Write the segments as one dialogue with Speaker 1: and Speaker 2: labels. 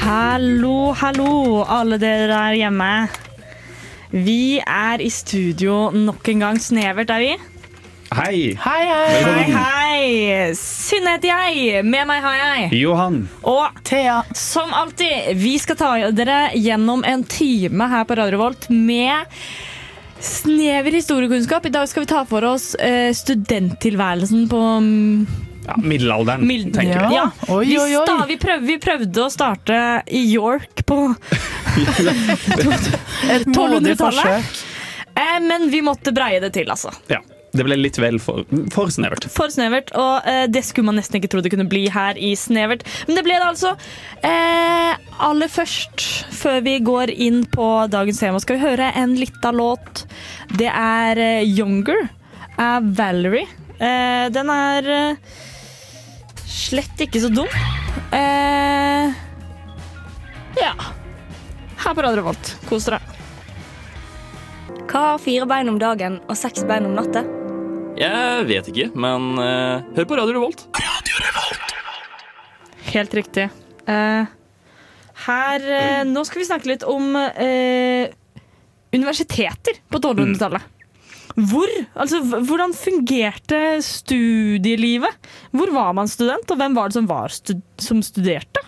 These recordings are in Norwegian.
Speaker 1: Hallo, hallo, alle dere der hjemme. Vi er i studio nok en gang. Snevert er vi.
Speaker 2: Hei!
Speaker 3: Hei, hei!
Speaker 1: Hei, hei! Synne heter jeg. Med meg har jeg.
Speaker 2: Johan.
Speaker 1: Og
Speaker 3: Thea.
Speaker 1: som alltid, vi skal ta dere gjennom en time her på Radio Revolt med snever historiekunnskap. I dag skal vi ta for oss eh, studenttilværelsen på mm,
Speaker 2: Ja, middelalderen,
Speaker 1: Mild-
Speaker 2: tenker
Speaker 3: Mm. Ja.
Speaker 2: jeg.
Speaker 3: Oi,
Speaker 1: vi,
Speaker 3: oi, oi.
Speaker 1: sta- vi, prøv, vi prøvde å starte i York på
Speaker 3: Et modig
Speaker 1: 1200-tallet.
Speaker 3: forsøk.
Speaker 1: eh, Men vi måtte breie det til, altså.
Speaker 2: Ja. Det ble litt vel for, for snevert.
Speaker 1: For snevert, og eh, det skulle man nesten ikke tro det kunne bli her i Snevert. Men det ble det altså. Eh, aller først, før vi går inn på dagens tema, skal vi høre en lita låt. Det er eh, Younger av Valerie. Eh, den er eh, slett ikke så dum. Eh, ja. Her på Radio Revolt. Kos dere.
Speaker 4: Hva har fire bein om dagen og seks bein om natta?
Speaker 5: Jeg vet ikke, men eh, hør på Radio Revolt.
Speaker 1: Helt riktig. Eh, her, eh, nå skal vi snakke litt om eh, universiteter på 1200-tallet. Hvor, altså, h- hvordan fungerte studielivet? Hvor var man student, og hvem var det som, var stu som studerte?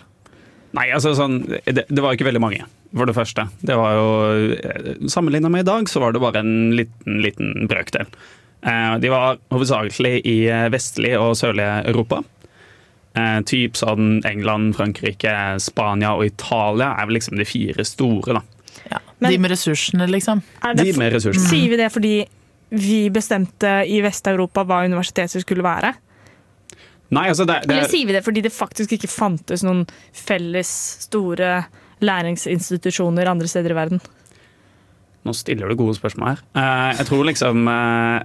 Speaker 2: Nei, altså sånn det, det var jo ikke veldig mange, for det første. Det var jo Sammenligna med i dag, så var det bare en liten, liten brøkdel. Eh, De var hovedsakelig i eh, vestlig og sørlig Europa. Eh, Typ sånn England, Frankrike, Spania og Italia er vel liksom de fire store, da.
Speaker 3: Ja.
Speaker 1: Men-
Speaker 3: De med ressursene, liksom.
Speaker 1: Er det
Speaker 2: De
Speaker 1: f-
Speaker 2: med ressurser.
Speaker 1: Sier vi det fordi vi bestemte i Vest-Europa hva universiteter skulle være?
Speaker 2: Nei, altså det, det
Speaker 1: Eller sier vi det fordi det faktisk ikke fantes noen felles store læringsinstitusjoner andre steder i verden?
Speaker 2: Nå stiller du gode spørsmål her. Eh, jeg tror liksom eh,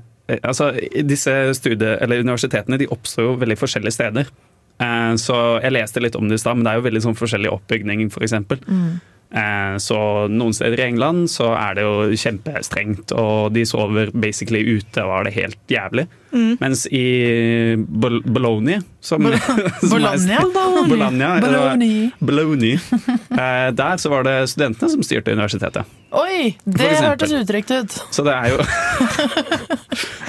Speaker 2: Altså, disse studie- eller universitetene de oppstår jo veldig forskjellige steder. Eh, så jeg leste litt om det i stad, men det er jo veldig sånn forskjellig oppbygning, f.eks. Eh, så noen steder i England så er det jo kjempestrengt, og de sover basically ute og har det helt jævlig. Mens i Bol Bologna som, som er-
Speaker 3: Bologna.
Speaker 2: Bologna, eller-
Speaker 3: Bologna.
Speaker 2: Bologna. Eh, der så var det studentene som styrte universitetet.
Speaker 3: Oi,
Speaker 2: For
Speaker 3: det
Speaker 2: eksempel.
Speaker 3: hørtes utrygt ut.
Speaker 2: Så det er jo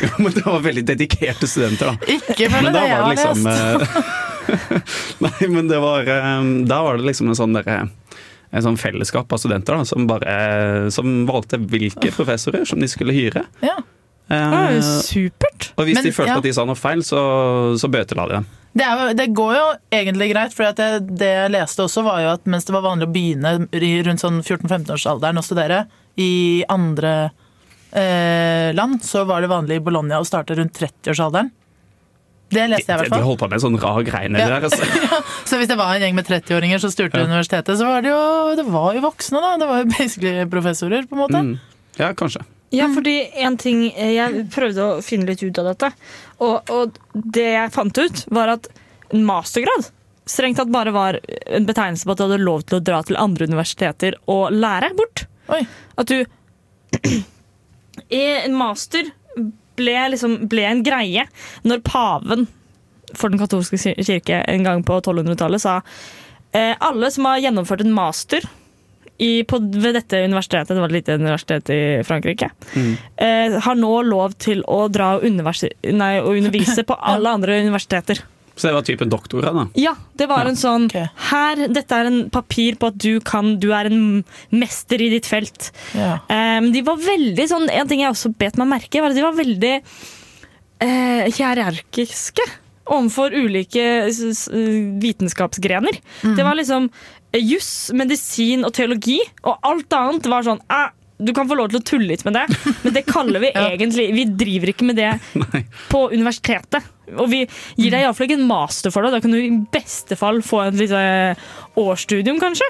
Speaker 2: Jo, Men det var veldig dedikerte studenter, da.
Speaker 3: Ikke følg
Speaker 2: Men da
Speaker 3: det jeg
Speaker 2: var
Speaker 3: har
Speaker 2: det liksom
Speaker 3: lest.
Speaker 2: eh, Nei, men det var eh, Da var det liksom en sånn derre en sånn fellesskap av studenter da, som, bare, eh, som valgte hvilke professorer som de skulle hyre.
Speaker 3: Ja.
Speaker 2: Eh,
Speaker 1: supert!
Speaker 2: og hvis
Speaker 3: Men-
Speaker 2: de følte
Speaker 3: ja.
Speaker 2: at de sa noe feil, så, så bøtela de dem.
Speaker 3: Det, er, jo- det går jo egentlig greit, for det, det jeg leste også var jo at mens det var vanlig å begynne i- rundt sånn 14-15-årsalderen å studere i andre eh, land, så var det vanlig i Bologna å starte rundt 30-årsalderen. Det
Speaker 2: De,
Speaker 3: leste jeg i hvert
Speaker 2: de
Speaker 3: fall.
Speaker 2: holdt på med en sånn rar greie nedi
Speaker 3: Ja.
Speaker 2: der. Altså.
Speaker 3: Så hvis det var en gjeng med 30-åringer som styrte universitetet, så var det jo, det var jo voksne, da. Det var jo basically professorer, på en måte.
Speaker 2: Mm. Ja, kanskje.
Speaker 1: Ja, fordi en ting eh, Jeg prøvde å finne litt ut av dette. Og, og det jeg fant ut, var at en mastergrad strengt tatt bare var en betegnelse på at du hadde lov til å dra til andre universiteter og lære bort.
Speaker 3: Oi.
Speaker 1: At du I en master ble, liksom, ble en greie når paven for den katolske kir- kirke en gang på 1200-tallet sa eh, alle som har gjennomført en master i, på, ved dette universitetet, det var et lite universitet i Frankrike, eh, har nå lov til å dra og, universi- nei, og undervise på alle andre universiteter.
Speaker 2: Så det var typen doktorer, da.
Speaker 1: Ja, det var en sånn
Speaker 3: Ok.
Speaker 1: her, Dette er en papir på at du, kan, du er en mester i ditt felt.
Speaker 3: Ja.
Speaker 1: Ehm, de var veldig sånn, En ting jeg også bet meg merke, var at de var veldig eh, hierarkiske overfor ulike s- s- vitenskapsgrener. Det var liksom eh, juss, medisin og teologi, og alt annet var sånn «Ah, Du kan få lov til å tulle litt med det, men det kaller vi egentlig Vi driver ikke med det
Speaker 2: Nei.
Speaker 1: på universitetet. Og vi gir deg iallfall ikke en master for det. Da kan du i beste fall få et lite eh, årsstudium, kanskje.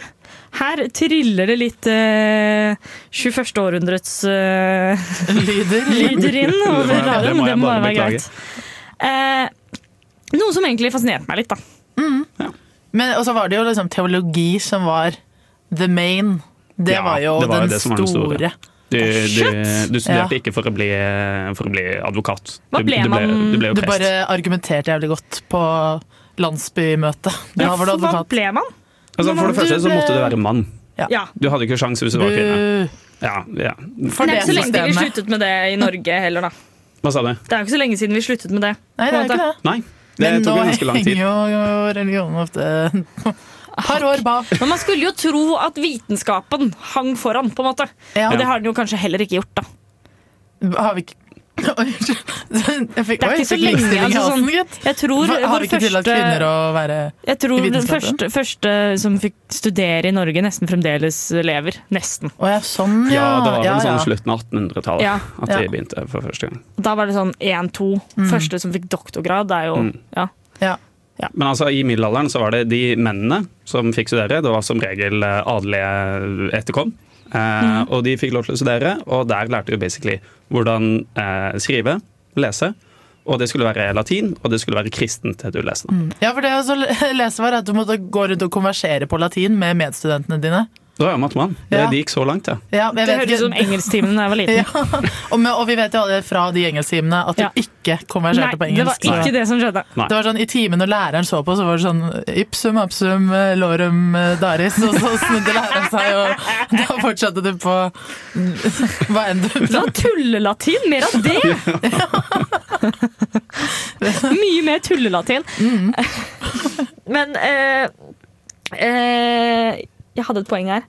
Speaker 1: Her triller det litt eh, 21. århundrets eh,
Speaker 3: Lyder.
Speaker 1: lyder inn over
Speaker 2: Det må jeg- det
Speaker 1: radioen.
Speaker 2: må
Speaker 1: Det
Speaker 2: jeg
Speaker 1: må være
Speaker 2: bare beklage.
Speaker 1: greit. Eh, noe som egentlig fascinerte meg litt, da.
Speaker 3: Men, og så var det jo liksom teologi som var the main. Det
Speaker 2: Ja,
Speaker 3: var jo
Speaker 2: det var jo
Speaker 3: den,
Speaker 2: det som var den store.
Speaker 3: store.
Speaker 2: Du, du,
Speaker 1: Shit!
Speaker 2: du studerte
Speaker 3: Ja.
Speaker 2: ikke for å bli, for å bli advokat.
Speaker 1: Hva
Speaker 2: Du-
Speaker 1: ble
Speaker 2: du
Speaker 1: man-
Speaker 2: Du ble jo
Speaker 3: Du
Speaker 2: prest.
Speaker 3: bare argumenterte jævlig godt på landsbymøtet. Da var du
Speaker 1: Hva
Speaker 3: advokat.
Speaker 1: ble man?
Speaker 2: Altså, for det
Speaker 3: du
Speaker 2: første så
Speaker 3: ble-
Speaker 2: måtte du være mann.
Speaker 1: Ja.
Speaker 2: Du hadde ikke sjans hvis du var kvinne.
Speaker 3: Bu.
Speaker 2: Ja, ja.
Speaker 3: For
Speaker 1: det er ikke
Speaker 3: det
Speaker 1: så lenge siden vi
Speaker 3: systemet.
Speaker 1: sluttet med det i Norge heller, da.
Speaker 2: Hva sa du?
Speaker 1: Det er jo ikke så lenge siden vi sluttet med det.
Speaker 3: Nei, det er ikke det.
Speaker 2: Nei. Det
Speaker 3: Men nå
Speaker 2: tok jo ganske lang tid.
Speaker 3: henger jo religionen ofte et par år bak.
Speaker 1: Men man skulle jo tro at vitenskapen hang foran, på en måte.
Speaker 3: Ja,
Speaker 1: Og det har den jo kanskje heller ikke gjort, da.
Speaker 3: har vi ikke Oi, unnskyld. Jeg fikk,
Speaker 1: Det er
Speaker 3: oi,
Speaker 1: ikke så
Speaker 3: fikk
Speaker 1: lenge,
Speaker 3: likestilling i
Speaker 1: altså,
Speaker 3: halsen,
Speaker 1: sånn-
Speaker 3: gitt.
Speaker 1: Jeg tror
Speaker 3: Hva- Har
Speaker 1: vår
Speaker 3: vi ikke tillatt
Speaker 1: første-
Speaker 3: kvinner å være
Speaker 1: Jeg tror
Speaker 3: i
Speaker 1: den
Speaker 3: vitenskapen?
Speaker 1: første, første som fikk studere i Norge, nesten fremdeles lever. Nesten.
Speaker 3: Å ja, sånn, ja.
Speaker 2: Ja, det var vel
Speaker 3: ja, ja.
Speaker 2: sånn slutten av 1800-tallet
Speaker 1: Ja.
Speaker 2: at de
Speaker 3: Ja.
Speaker 2: begynte for første gang.
Speaker 1: Da var det sånn én-to.
Speaker 3: Mm.
Speaker 1: Første som fikk doktorgrad, det er jo
Speaker 2: Mm.
Speaker 1: ja.
Speaker 3: Ja.
Speaker 2: Men altså, i middelalderen så var det de mennene som fikk studere. Det var som regel eh, adelige etterkom. Eh,
Speaker 3: Mhm.
Speaker 2: Og de fikk lov til å studere, og der lærte vi basically hvordan eh, skrive, lese. Og det skulle være latin, og det skulle være kristent, det du leste.
Speaker 3: ja, for det jeg også leste var at du måtte gå rundt og konversere på latin med medstudentene dine.
Speaker 2: Da er jeg mattemann. Det,
Speaker 3: Ja.
Speaker 2: det gikk så langt, ja.
Speaker 3: Ja,
Speaker 1: Det
Speaker 3: jeg vet
Speaker 1: høres ut som
Speaker 3: ikke-
Speaker 1: engelsktimen da jeg var liten.
Speaker 3: ja. Og, men- og vi vet jo alle fra de engelsktimene at du
Speaker 1: Ja.
Speaker 3: ikke konverserte på
Speaker 1: Nei, det var
Speaker 3: engelsk.
Speaker 1: ikke det som skjedde.
Speaker 2: Nei.
Speaker 3: Det var sånn, I timen når læreren så på, så var det sånn Ipsum, absum, eh, lorum, eh, daris. Og så snudde læreren seg, og da fortsatte du på hva enn du
Speaker 1: Det var tullelatin! Mer av det! Mye mer tullelatin.
Speaker 3: Mm.
Speaker 1: Men eh, eh, Jeg hadde et poeng her,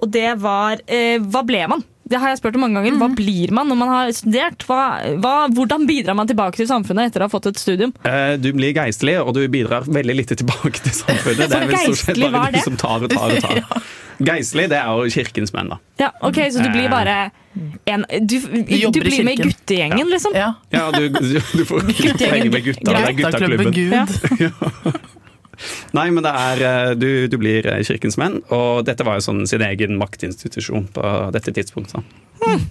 Speaker 1: og det var eh, Hva ble man? Det har jeg spurt om mange ganger.
Speaker 3: Mm.
Speaker 1: Hva blir man når man har studert? Hva, hva, hvordan bidrar man tilbake til samfunnet etter å ha fått et studium?
Speaker 2: Eh, Du blir geistlig, og du bidrar veldig lite tilbake til samfunnet. Det er vel stort sett
Speaker 1: geistlig, hva er
Speaker 2: bare du
Speaker 1: det?
Speaker 2: som tar og tar og tar. Geistlig, det er jo kirkens menn, da.
Speaker 1: Ja, ok, Så du blir bare en Du, du
Speaker 3: jobber i
Speaker 1: blir med i
Speaker 3: kirken.
Speaker 1: guttegjengen, liksom?
Speaker 3: Ja.
Speaker 2: Ja, du, du får henge med gutta. Det er guttaklubben.
Speaker 3: Gud.
Speaker 1: Ja.
Speaker 2: Nei, men det er eh, du, du blir eh, kirkens menn, og dette var jo sånn sin egen maktinstitusjon på dette tidspunktet.
Speaker 1: Hmm.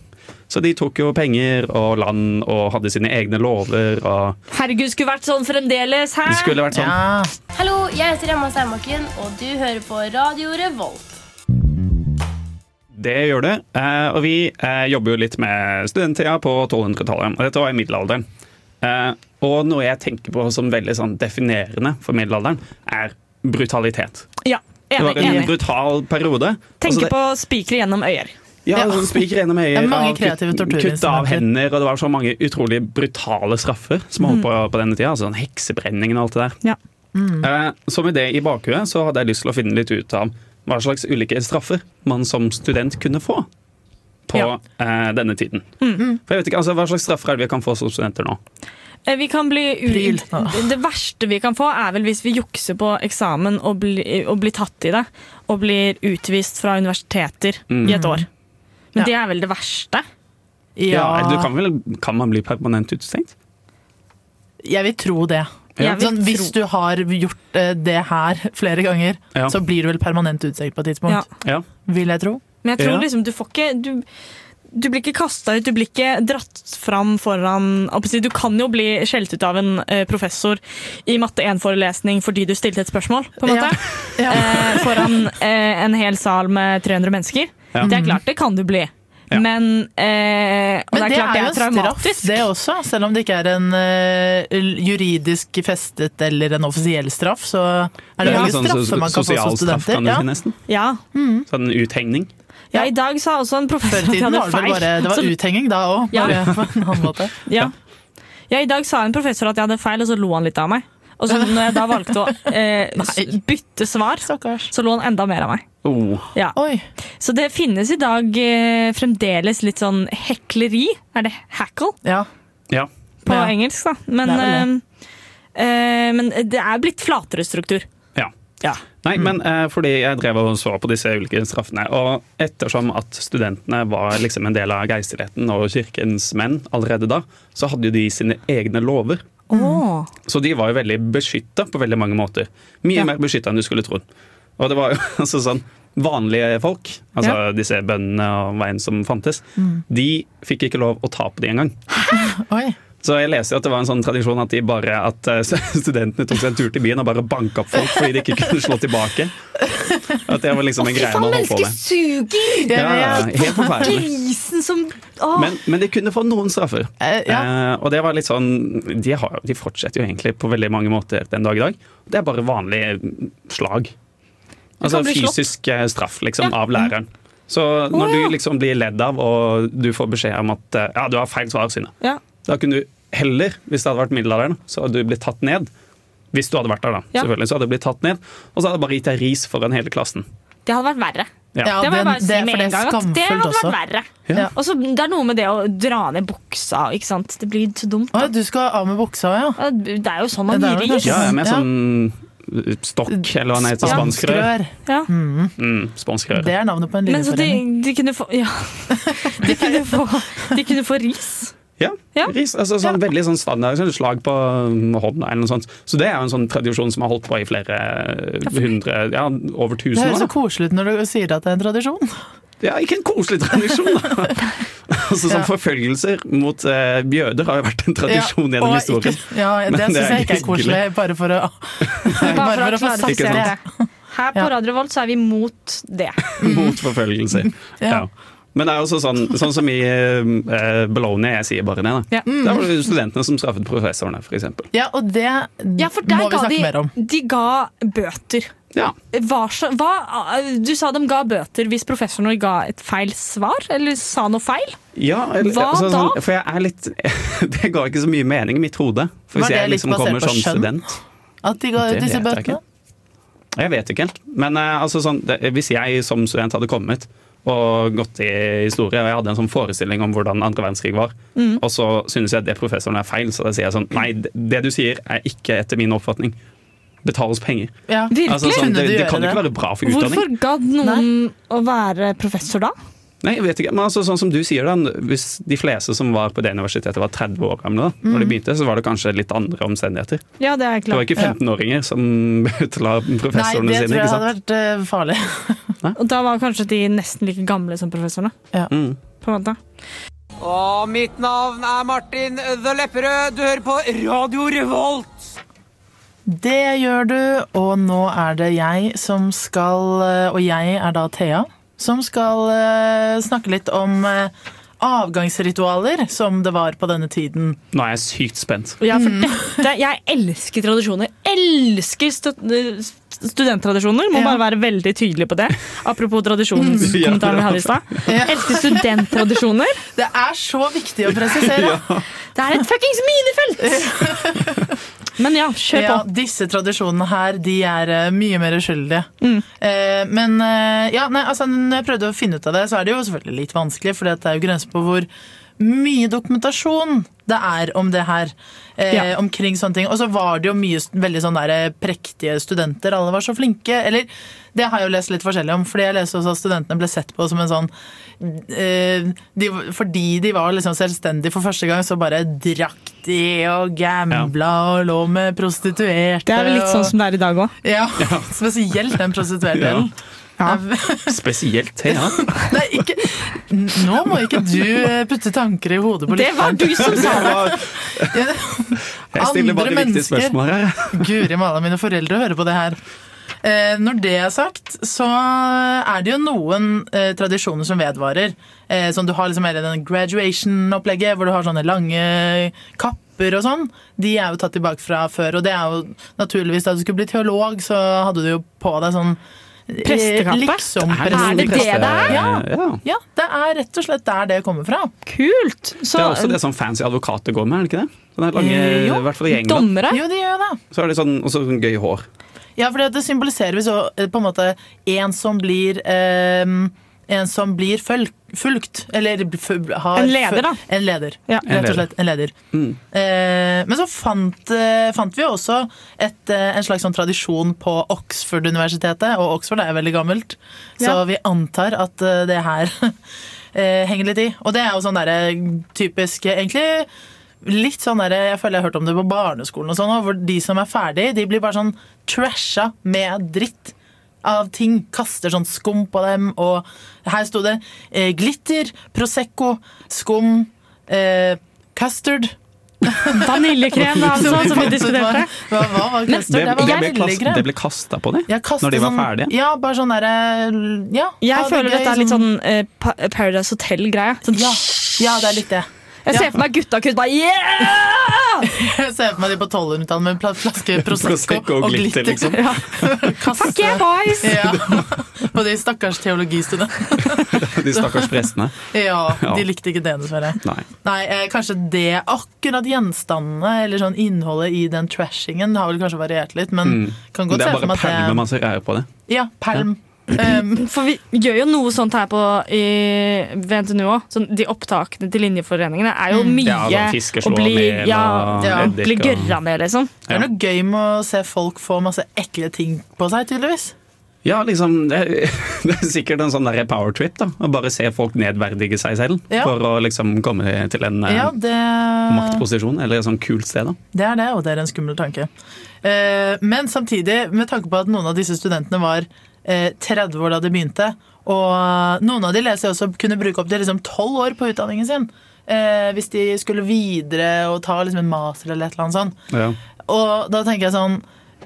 Speaker 2: Så de tok jo penger og land og hadde sine egne lover og
Speaker 1: Herregud, skulle vært sånn fremdeles! Hæ?
Speaker 2: Det skulle vært sånn.
Speaker 3: Ja.
Speaker 6: Hallo, jeg heter Emma Steinbakken, og du hører på Radio Revolt.
Speaker 2: Det gjør det. Eh, og vi eh, jobber jo litt med studenttida på 1200-tallet. Og dette var i middelalderen. Eh, og noe jeg tenker på som veldig sånn, definerende for middelalderen, er brutalitet.
Speaker 1: Ja,
Speaker 2: Det
Speaker 1: enig,
Speaker 2: var en
Speaker 1: enig.
Speaker 2: brutal periode. Altså,
Speaker 1: Tenke
Speaker 2: det-
Speaker 1: på spikere gjennom øyer.
Speaker 2: Ja,
Speaker 3: Ja.
Speaker 2: altså, spiker gjennom øyet.
Speaker 3: Det er mange
Speaker 2: og
Speaker 3: kreative
Speaker 2: kutt-
Speaker 3: torturinstrumenter.
Speaker 2: Kutt av hender, og det var så mange utrolig brutale straffer som holdt på
Speaker 3: Mm.
Speaker 2: på denne tida. Altså, sånn heksebrenningen og alt det der.
Speaker 1: Ja.
Speaker 2: Eh, så med det i bakhuet så hadde jeg lyst til å finne litt ut av hva slags ulike straffer man som student kunne få på
Speaker 1: Ja.
Speaker 2: eh, denne tiden.
Speaker 3: Mm.
Speaker 2: For jeg vet ikke, altså, Hva slags straffer er det vi kan få som studenter nå?
Speaker 1: Eh, Vi kan bli u-
Speaker 3: Pryl.
Speaker 1: Det verste vi kan få, er vel hvis vi jukser på eksamen og blir, og blir tatt i det. Og blir utvist fra universiteter i et år. Men
Speaker 3: Mm. Ja.
Speaker 1: det er vel det verste?
Speaker 2: Ja, du
Speaker 3: Ja,
Speaker 2: kan, vel, kan man bli permanent utestengt?
Speaker 3: jeg vil tro det.
Speaker 1: Jeg vil
Speaker 3: Sånn, hvis
Speaker 1: tro-
Speaker 3: du har gjort eh, det her flere ganger,
Speaker 2: Ja.
Speaker 3: så blir du vel permanent utstengt på et
Speaker 1: Ja.
Speaker 3: tidspunkt.
Speaker 2: Ja.
Speaker 3: Vil jeg tro.
Speaker 1: Men jeg tror
Speaker 2: Ja.
Speaker 1: liksom du får ikke du, du blir ikke kasta ut, du blir ikke dratt fram foran opp å si, Du kan jo bli skjelt ut av en eh, professor i matte 1-forelesning fordi du stilte et spørsmål, på en måte.
Speaker 3: Ja.
Speaker 1: eh, foran eh, en hel sal med 300 mennesker.
Speaker 2: Ja.
Speaker 1: Det er klart, det kan du bli.
Speaker 2: Ja.
Speaker 1: Men, eh, og
Speaker 3: Men
Speaker 1: det er klart det er traumatisk.
Speaker 3: det også. Selv om det ikke er en eh, l- juridisk festet eller en offisiell straff, så er det
Speaker 2: Det er
Speaker 3: mange
Speaker 2: litt sånn
Speaker 3: straffer
Speaker 2: so-
Speaker 3: man kan få som
Speaker 2: sosial straff, kan
Speaker 3: studenter.
Speaker 2: du
Speaker 3: Ja. Mm.
Speaker 2: si, nesten.
Speaker 1: Ja.
Speaker 2: Sånn utengning.
Speaker 1: ja,
Speaker 3: Ja.
Speaker 1: i dag sa også en
Speaker 3: Før
Speaker 1: professor
Speaker 3: i
Speaker 1: at jeg hadde
Speaker 3: tiden var det vel
Speaker 1: feil.
Speaker 3: bare det var
Speaker 1: Så-
Speaker 3: uthenging da òg,
Speaker 1: Ja.
Speaker 3: bare på en annen måte.
Speaker 1: ja. ja, i dag sa en professor at jeg hadde feil, og så lo han litt av meg. Og så når jeg da valgte å eh, s- bytte svar,
Speaker 3: Stakkars.
Speaker 1: så lo han enda mer av meg.
Speaker 2: Oh.
Speaker 1: Ja.
Speaker 3: Oi.
Speaker 1: Så det finnes i dag eh, fremdeles litt sånn hekleri. Er det hackle?
Speaker 3: Ja.
Speaker 2: Ja.
Speaker 1: på
Speaker 3: Ja.
Speaker 1: engelsk, da. Men
Speaker 3: Det
Speaker 1: det,
Speaker 3: er
Speaker 1: men det er blitt flatere struktur.
Speaker 2: ja. Nei, men eh, fordi jeg drev og så på disse ulike straffene, og ettersom at studentene var liksom en del av geistligheten og kirkens menn allerede da, så hadde jo de sine egne lover.
Speaker 3: Mm.
Speaker 1: Åh.
Speaker 2: Så de var jo veldig beskytta på veldig mange måter. Mye
Speaker 1: Ja.
Speaker 2: mer beskytta enn du skulle trodd. Og det var jo altså sånn Vanlige folk, altså disse bøndene og hva enn som fantes, de fikk ikke lov å ta på de engang.
Speaker 3: Oi.
Speaker 2: Så jeg leser jo at det var en sånn tradisjon at, de bare, at eh, studentene tok seg en tur til byen og bare banka opp folk fordi de ikke kunne slå tilbake. At det var liksom en greie man holdt på med.
Speaker 1: suger!
Speaker 3: Ja,
Speaker 2: Ja, ja,
Speaker 3: ja.
Speaker 2: helt forferdelig.
Speaker 1: Grisen som Åh.
Speaker 2: Men, men de kunne få noen straffer.
Speaker 3: Eh, ja.
Speaker 2: Eh, og det var litt sånn de, har, de fortsetter jo egentlig på veldig mange måter den dag i dag. Det er bare vanlig slag. Altså
Speaker 1: kan bli slått.
Speaker 2: fysisk eh, straff liksom, av læreren. Så når du liksom blir ledd av, og du får beskjed om at eh, ja, du har feil svar, Synne
Speaker 1: Ja.
Speaker 2: Da kunne du heller, hvis det hadde vært middelalderen, så hadde du blitt tatt ned. Hvis du hadde vært der, da.
Speaker 1: Ja.
Speaker 2: selvfølgelig, så hadde du blitt tatt ned. Og så hadde jeg bare gitt deg ris foran hele klassen.
Speaker 1: Det hadde vært verre.
Speaker 2: Ja.
Speaker 1: det må jeg
Speaker 3: den-
Speaker 1: bare si
Speaker 3: det- for
Speaker 1: med en
Speaker 3: det er
Speaker 1: gang. At det
Speaker 3: skamfullt
Speaker 1: hadde
Speaker 3: også.
Speaker 1: vært verre.
Speaker 2: Ja.
Speaker 1: Og så Det er noe med det å dra ned buksa, ikke sant. Det blir så dumt.
Speaker 3: Å,
Speaker 1: Da.
Speaker 3: du skal av med buksa, ja.
Speaker 1: Det er jo sånn man
Speaker 3: Det er
Speaker 1: gir
Speaker 3: vel
Speaker 1: ris.
Speaker 2: Ja, jeg er med
Speaker 3: Ja.
Speaker 2: sånn stokk, eller hva den heter. Spanskrør.
Speaker 3: Spanskrør.
Speaker 1: Ja.
Speaker 2: Mm, spanskrør.
Speaker 3: Det er navnet på en
Speaker 1: Men så de,
Speaker 3: linjeforening.
Speaker 1: de kunne få Ja. De kunne få, de kunne få ris.
Speaker 2: Ja,
Speaker 1: Ja.
Speaker 2: ris. Altså, sånn, Veldig sånn standard sånn slag på mm, hånda eller noe sånt. Så det er jo en sånn tradisjon som har holdt på i flere eh, hundre, ja, over
Speaker 3: Det
Speaker 2: tusen
Speaker 3: høres
Speaker 2: år.
Speaker 3: så
Speaker 2: da.
Speaker 3: koselig ut når du sier at det er en tradisjon.
Speaker 2: Ja, ikke en koselig tradisjon, da! altså, sånn
Speaker 3: Ja.
Speaker 2: Forfølgelser mot eh, jøder har jo vært en tradisjon
Speaker 3: Ja,
Speaker 2: gjennom
Speaker 3: og
Speaker 2: historien.
Speaker 3: Ikke, ja,
Speaker 2: Men
Speaker 3: det
Speaker 2: det
Speaker 3: syns
Speaker 2: er
Speaker 3: jeg ikke er
Speaker 2: hyggelig.
Speaker 3: koselig, bare for å, bare for
Speaker 1: klare
Speaker 3: å få sagt
Speaker 2: Ikke
Speaker 3: det.
Speaker 2: sant?
Speaker 1: Her på
Speaker 3: Ja.
Speaker 1: Radio Volt så er vi mot det.
Speaker 2: mot forfølgelse.
Speaker 3: Mhm. Ja.
Speaker 2: Ja. Men det er også sånn, sånn som i uh, Bologna, jeg sier bare det. da.
Speaker 1: Ja.
Speaker 2: Der var
Speaker 3: Mhm.
Speaker 2: det jo studentene som straffet professorene, f.eks.
Speaker 3: Ja, og det
Speaker 1: Ja, for
Speaker 3: må
Speaker 1: der
Speaker 3: vi
Speaker 1: ga
Speaker 3: snakke
Speaker 1: de,
Speaker 3: mer om.
Speaker 1: de ga bøter.
Speaker 2: Ja.
Speaker 1: Hva, så- hva, du sa de ga bøter hvis professoren ga et feil svar, eller sa noe feil.
Speaker 2: Ja, eller-
Speaker 1: Hva
Speaker 2: altså,
Speaker 1: da?
Speaker 2: Sånn, for jeg er litt Det ga ikke så mye mening i mitt hode. For
Speaker 3: Var
Speaker 2: hvis
Speaker 3: det
Speaker 2: jeg
Speaker 3: litt
Speaker 2: liksom
Speaker 3: basert
Speaker 2: kommer
Speaker 3: på
Speaker 2: som
Speaker 3: skjønn?
Speaker 2: student
Speaker 3: At de ga ut
Speaker 2: Det
Speaker 3: disse
Speaker 2: vet jeg
Speaker 3: bøtene.
Speaker 2: ikke. Jeg vet ikke helt. Men eh, altså, sånn, det, hvis jeg som student hadde kommet og gått i historie, og jeg hadde en sånn forestilling om hvordan andre verdenskrig var,
Speaker 3: Mm.
Speaker 2: og så synes jeg at det professoren er feil, så da sier jeg sånn Nei, det- det du sier er ikke etter min oppfatning. Betal oss penger.
Speaker 3: Ja.
Speaker 1: Virkelig?
Speaker 2: Altså, sånn,
Speaker 3: Kunne
Speaker 2: det,
Speaker 3: du
Speaker 2: det
Speaker 3: gjøre
Speaker 2: kan jo
Speaker 3: det?
Speaker 2: ikke være bra for utdanning.
Speaker 1: Hvorfor gadd noen å være professor da?
Speaker 2: Nei, jeg vet ikke, men altså, sånn som du sier da, Hvis de fleste som var på det universitetet var 30 år gamle, da
Speaker 3: Mm.
Speaker 2: når de begynte, så var det kanskje litt andre omstendigheter.
Speaker 1: Ja, det er
Speaker 2: Det var
Speaker 1: klart.
Speaker 2: ikke 15-åringer som utla
Speaker 3: Nei,
Speaker 2: professorene
Speaker 3: det
Speaker 2: sine.
Speaker 3: tror
Speaker 2: ikke
Speaker 3: jeg
Speaker 2: sant?
Speaker 3: hadde vært eh, farlig.
Speaker 1: Og da var kanskje de nesten like gamle som professorene.
Speaker 3: Ja.
Speaker 2: Mm.
Speaker 1: På en måte.
Speaker 7: Og mitt navn er Martin The Lepperød. Du hører på Radio Revolt.
Speaker 3: Det gjør du, og nå er det jeg som skal eh, Og jeg er da Thea. Som skal eh, snakke litt om eh, avgangsritualer, som det var på denne tiden.
Speaker 2: Nå er jeg sykt spent.
Speaker 1: Ja, for dette, jeg elsker tradisjoner. Elsker stu- studenttradisjoner. Må
Speaker 3: Ja.
Speaker 1: bare være veldig tydelig på det. Apropos tradisjonskommentaren vi hadde i stad. Elsker studenttradisjoner.
Speaker 3: Det er så viktig å presisere!
Speaker 1: Det er et fuckings minefelt! Men ja, kjør
Speaker 3: Ja,
Speaker 1: på.
Speaker 3: disse tradisjonene her, de er eh, mye mer uskyldige. Eh, men eh, ja, nei, altså, når jeg prøvde å finne ut av det, så er det jo selvfølgelig litt vanskelig, for det er jo grenser på hvor mye dokumentasjon det er om det her. Eh,
Speaker 1: Ja.
Speaker 3: Omkring sånne ting. Og så var det jo mye st- veldig sånn der, eh, prektige studenter. Alle var så flinke. Eller det har jeg jo lest litt forskjellig om, fordi jeg leste også at studentene ble sett på som en sånn eh, de, Fordi de var liksom selvstendige for første gang, så bare drakk de og gambla og lå med prostituerte.
Speaker 1: Det er vel litt sånn som det er i dag òg.
Speaker 3: og, ja, Spesielt den prostituerte delen.
Speaker 1: Ja.
Speaker 2: Spesielt Thea.
Speaker 3: Nei, ikke Nå må ikke du eh, putte tanker i hodet på
Speaker 1: Det var du som sa det!
Speaker 2: Jeg stiller bare viktige
Speaker 3: Andre mennesker.
Speaker 2: spørsmål her.
Speaker 3: Guri malla, mine foreldre hører på det her. Eh, når det er sagt, så er det jo noen eh, tradisjoner som vedvarer. Eh, som du har liksom hele den graduation-opplegget, hvor du har sånne lange kapper og sånn. De er jo tatt tilbake fra før, og det er jo naturligvis da du skulle bli teolog, så hadde du jo på deg sånn eh,
Speaker 1: Prestekappe?
Speaker 3: Liksom,
Speaker 1: Er det det det er?
Speaker 2: Ja. ja.
Speaker 3: Ja, det er rett og slett der det kommer fra.
Speaker 1: Kult!
Speaker 2: Det
Speaker 1: Så
Speaker 2: er også det som fancy advokater går med, er det ikke det? Sånne lange,
Speaker 3: Eh, jo.
Speaker 2: I hvert fall i England.
Speaker 1: dommere
Speaker 3: Jo, det gjør jo det.
Speaker 2: Så er det sånn, også sånn gøy hår.
Speaker 3: Ja, for det symboliserer vi så eh, på en måte en som blir eh, en som blir følg, fulgt, eller f- har
Speaker 1: En leder, da.
Speaker 3: En leder,
Speaker 1: Ja.
Speaker 3: rett og slett. En leder. Eh, men så fant, eh, fant vi jo også et, eh, en slags sånn tradisjon på Oxford-universitetet, og Oxford er veldig gammelt, så
Speaker 1: Ja.
Speaker 3: vi antar at eh, det her eh, henger litt i. Og det er jo sånn derre typisk, eh, egentlig litt sånn der, Jeg føler jeg har hørt om det på barneskolen, og sånn, også, hvor de som er ferdig, de blir bare sånn trasha med dritt. Av ting. Kaster sånn skum på dem, og her sto det eh, glitter, Prosecco, skum, eh, custard.
Speaker 1: Vaniljekrem, da, altså, som vi
Speaker 3: fant ut
Speaker 1: diskuterte.
Speaker 3: hva- Hva, hva var
Speaker 2: Det,
Speaker 3: custard?
Speaker 2: det,
Speaker 3: Det, var
Speaker 2: ble, kast, det
Speaker 3: vaniljekrem.
Speaker 2: ble kasta på dem
Speaker 3: Jeg kastet
Speaker 2: når de var
Speaker 3: sånn-
Speaker 2: ferdige.
Speaker 3: Ja, bare sånn derre ja, ha
Speaker 1: Jeg
Speaker 3: det
Speaker 1: føler
Speaker 3: gøy,
Speaker 1: dette er litt
Speaker 3: sånn-
Speaker 1: sånn eh, Pa- Paradise Hotel-greie. Sånn,
Speaker 3: ja, ja, det er litt det.
Speaker 1: Jeg
Speaker 3: Ja.
Speaker 1: ser for meg gutta kutt bare yeah!
Speaker 3: Jeg ser for meg de på 1200-tallet med pla- flaske Prosecco
Speaker 2: Prosecco og glitter, liksom.
Speaker 3: Ja. Kaste
Speaker 1: Fuck yeah, boys!
Speaker 3: ja. På de stakkars teologistudene.
Speaker 2: De stakkars prestene.
Speaker 3: Ja,
Speaker 2: Ja.
Speaker 3: de likte ikke det, dessverre.
Speaker 2: Nei.
Speaker 3: Nei, eh, kanskje det akkurat gjenstandene eller sånn innholdet i den trashingen har vel kanskje variert litt, men
Speaker 2: Mm.
Speaker 3: kan godt
Speaker 2: Det
Speaker 3: se
Speaker 2: er
Speaker 3: for
Speaker 2: bare
Speaker 3: meg
Speaker 2: perl med
Speaker 3: at det
Speaker 2: masse rære på det.
Speaker 3: Ja, perm. Um,
Speaker 1: For vi gjør jo noe sånt her på i, ved NTNU òg. Sånn, de opptakene til linjeforeningene er jo mye
Speaker 2: altså, fisker slår
Speaker 1: å bli,
Speaker 2: ned,
Speaker 1: ja,
Speaker 2: og
Speaker 3: Ja.
Speaker 2: eddik,
Speaker 1: bli
Speaker 2: og-
Speaker 1: gørra med, liksom.
Speaker 3: det er noe gøy med å se folk få masse ekle ting på seg, tydeligvis.
Speaker 2: Ja, liksom, det, er, det er sikkert en sånn der power trip. da, Å bare se folk nedverdige seg selv
Speaker 3: Ja.
Speaker 2: for å liksom komme til en eh,
Speaker 3: Ja, det
Speaker 2: maktposisjon eller et sånt kult sted. da.
Speaker 3: Det er det, og det er en skummel tanke. Eh, men samtidig, med tanke på at noen av disse studentene var eh, 30 år da de begynte, og noen av de leser jeg også kunne bruke opptil liksom 12 år på utdanningen sin, eh, hvis de skulle videre og ta liksom en master eller et eller annet sånt.
Speaker 2: Ja.
Speaker 3: Og da tenker jeg sånn,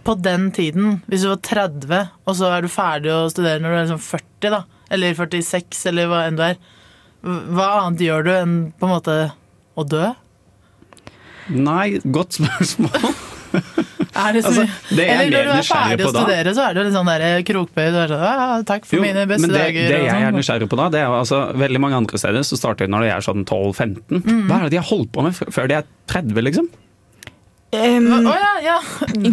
Speaker 3: på den tiden, hvis du var 30, og så er du ferdig å studere når du er liksom 40 da, eller 46, eller hva enn du er, hva annet gjør du enn på en måte å dø?
Speaker 2: Nei, godt spørsmål.
Speaker 3: Er det så
Speaker 2: Altså,
Speaker 3: mye?
Speaker 2: det jeg
Speaker 3: Eller
Speaker 2: blir
Speaker 3: når du er
Speaker 2: nysgjerrig
Speaker 3: ferdig å
Speaker 2: på da
Speaker 3: studere, så er du litt sånn der krokbøy. Du er sånn «Ah, 'Takk for
Speaker 2: Jo,
Speaker 3: mine beste
Speaker 2: men det,
Speaker 3: dager'.
Speaker 2: Det
Speaker 3: og
Speaker 2: jeg er
Speaker 3: sånn.
Speaker 2: nysgjerrig på da, det er jo altså veldig mange andre steder så starter de når de er sånn 12-15.
Speaker 3: Mm.
Speaker 2: Hva er det de har holdt på med f- før de er 30, liksom?
Speaker 3: Hva-
Speaker 1: Um,
Speaker 3: Å ja, ja.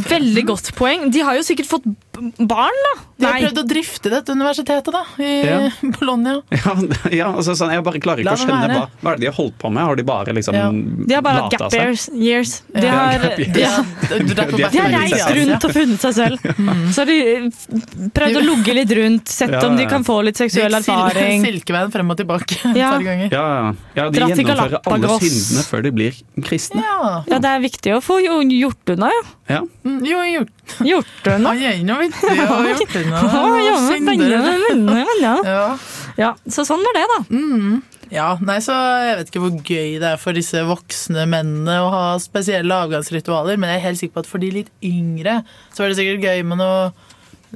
Speaker 1: veldig godt poeng. De har jo sikkert fått b- barn, da.
Speaker 3: De har prøvd å drifte dette universitetet, da. I
Speaker 2: Ja.
Speaker 3: Bologna.
Speaker 2: Ja, ja altså sånn, Jeg bare klarer
Speaker 3: La
Speaker 2: ikke å
Speaker 3: dem
Speaker 2: skjønne
Speaker 3: være.
Speaker 2: hva, hva er det de har holdt på med. Har de bare liksom
Speaker 3: Ja.
Speaker 1: De har bare hatt
Speaker 2: lata
Speaker 1: gap
Speaker 2: seg?
Speaker 1: years. years. De,
Speaker 3: Ja.
Speaker 1: har,
Speaker 2: Gap years.
Speaker 1: de,
Speaker 3: Ja,
Speaker 1: har,
Speaker 3: du- du drar på
Speaker 2: De har
Speaker 1: de har
Speaker 2: Funnet
Speaker 1: reist
Speaker 2: seg selv.
Speaker 1: rundt og funnet seg selv. Så har de eh, f- prøvd å lugge litt rundt, sett
Speaker 2: Ja,
Speaker 1: om de
Speaker 2: ja.
Speaker 1: kan få litt seksuell
Speaker 3: Gikk sil-
Speaker 1: erfaring.
Speaker 3: Silkeveien frem og tilbake et
Speaker 1: Ja.
Speaker 3: par ganger.
Speaker 2: Ja, ja. ja, de
Speaker 1: Dra til
Speaker 2: gjennomfører alle
Speaker 1: Galapagos.
Speaker 2: syndene før de blir kristne.
Speaker 3: Ja.
Speaker 1: Ja, det er viktig å få jo- gjort unna, ja.
Speaker 2: Ja.
Speaker 3: Mm, Jo, jeg gjorde
Speaker 1: Gjort unna.
Speaker 3: Å, jeg er noe vittig, jeg har gjort det. nå.
Speaker 1: Å, ja, men
Speaker 3: Syndere.
Speaker 1: spennende, spennende, ja.
Speaker 3: Ja.
Speaker 1: Ja, så sånn var det, da.
Speaker 3: Ja, nei, så Jeg vet ikke hvor gøy det er for disse voksne mennene å ha spesielle avgangsritualer, men jeg er helt sikker på at for de litt yngre så var det sikkert gøy med noe,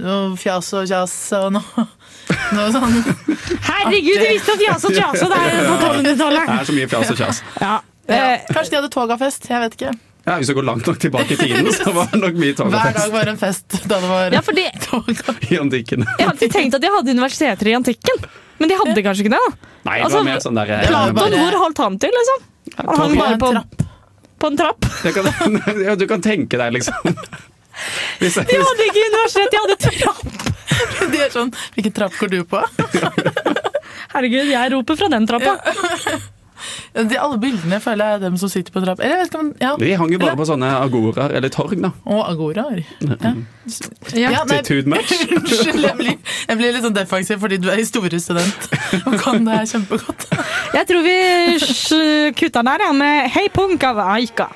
Speaker 3: noe fjas og kjas og noe, noe sånn.
Speaker 1: Herregud, de visste at jasa og jasa det er på 1200-tallet!
Speaker 2: Det er så mye fjas og kjas.
Speaker 1: Ja.
Speaker 3: Ja,
Speaker 1: Eh,
Speaker 3: kanskje de hadde togafest. Jeg vet ikke.
Speaker 2: Ja, hvis du går langt nok tilbake i tiden, så var det nok mye tog og
Speaker 3: Hver dag
Speaker 2: fest
Speaker 3: var en fest da det var
Speaker 1: ja, fordi jeg
Speaker 3: tog.
Speaker 2: i antikken.
Speaker 1: har alltid tenkt at de hadde universiteter i antikken, men de hadde kanskje ikke det. da.
Speaker 2: Nei, det
Speaker 1: Altså,
Speaker 2: var mer sånn der eh,
Speaker 3: Platon-
Speaker 1: Platon, hvor holdt han til, liksom? Han hang bare på, på en trapp.
Speaker 2: det kan, ja, Du kan tenke deg, liksom. Hvis,
Speaker 1: De hadde ikke universitet, de hadde trapp!
Speaker 3: De er sånn Hvilken trapp går du på?
Speaker 1: Herregud, jeg roper fra den trappa.
Speaker 3: De Alle bildene føler jeg er dem som sitter på trapp. Eller jeg vet ikke om Ja.
Speaker 2: de hang jo bare på sånne agoraer eller torg, da.
Speaker 3: Og agoraer. Ja. Ja, nei,
Speaker 2: Attitude match.
Speaker 3: Unnskyld, jeg blir, jeg blir litt sånn defensiv fordi du er historiestudent og kan det her kjempegodt.
Speaker 1: Jeg tror vi sj- kutter den her ja, med Hei punk av Aika.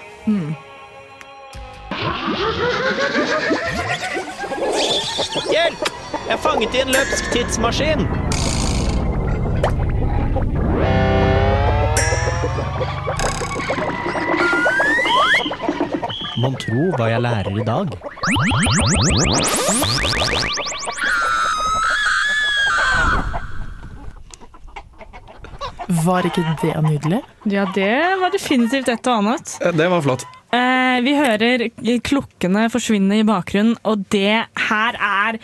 Speaker 8: Hjelp! Jeg er fanget i en løpsk tidsmaskin. Mon tro hva jeg lærer i dag?
Speaker 3: Var ikke det nydelig?
Speaker 1: Ja, det var definitivt et og annet.
Speaker 2: Det var flott.
Speaker 1: Eh, vi hører klokkene forsvinne i bakgrunnen, og det her er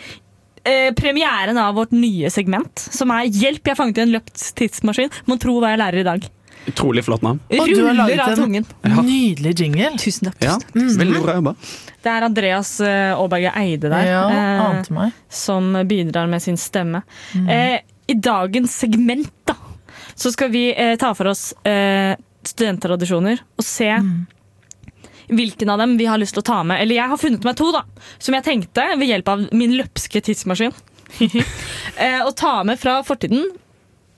Speaker 1: eh, premieren av vårt nye segment, som er Hjelp, jeg fanget i en løpt tidsmaskin. Mon tro hva jeg lærer i dag.
Speaker 2: Utrolig flott navn.
Speaker 3: Og du har laget
Speaker 1: Ruller av
Speaker 3: en-
Speaker 1: tungen.
Speaker 3: Nydelig jingle.
Speaker 1: Tusen takk.
Speaker 2: Ja,
Speaker 1: tusen takk.
Speaker 2: Veldig bra jobba.
Speaker 1: Det er Andreas eh, Aaberge Eide der.
Speaker 3: Ja,
Speaker 1: eh,
Speaker 3: ante meg.
Speaker 1: som bidrar med sin stemme.
Speaker 3: Mm.
Speaker 1: Eh, I dagens segment da, så skal vi eh, ta for oss eh, studenttradisjoner og se hvilken av dem vi har lyst til å ta med. Eller jeg har funnet meg to, da, som jeg tenkte ved hjelp av min løpske tidsmaskin eh, å ta med fra fortiden.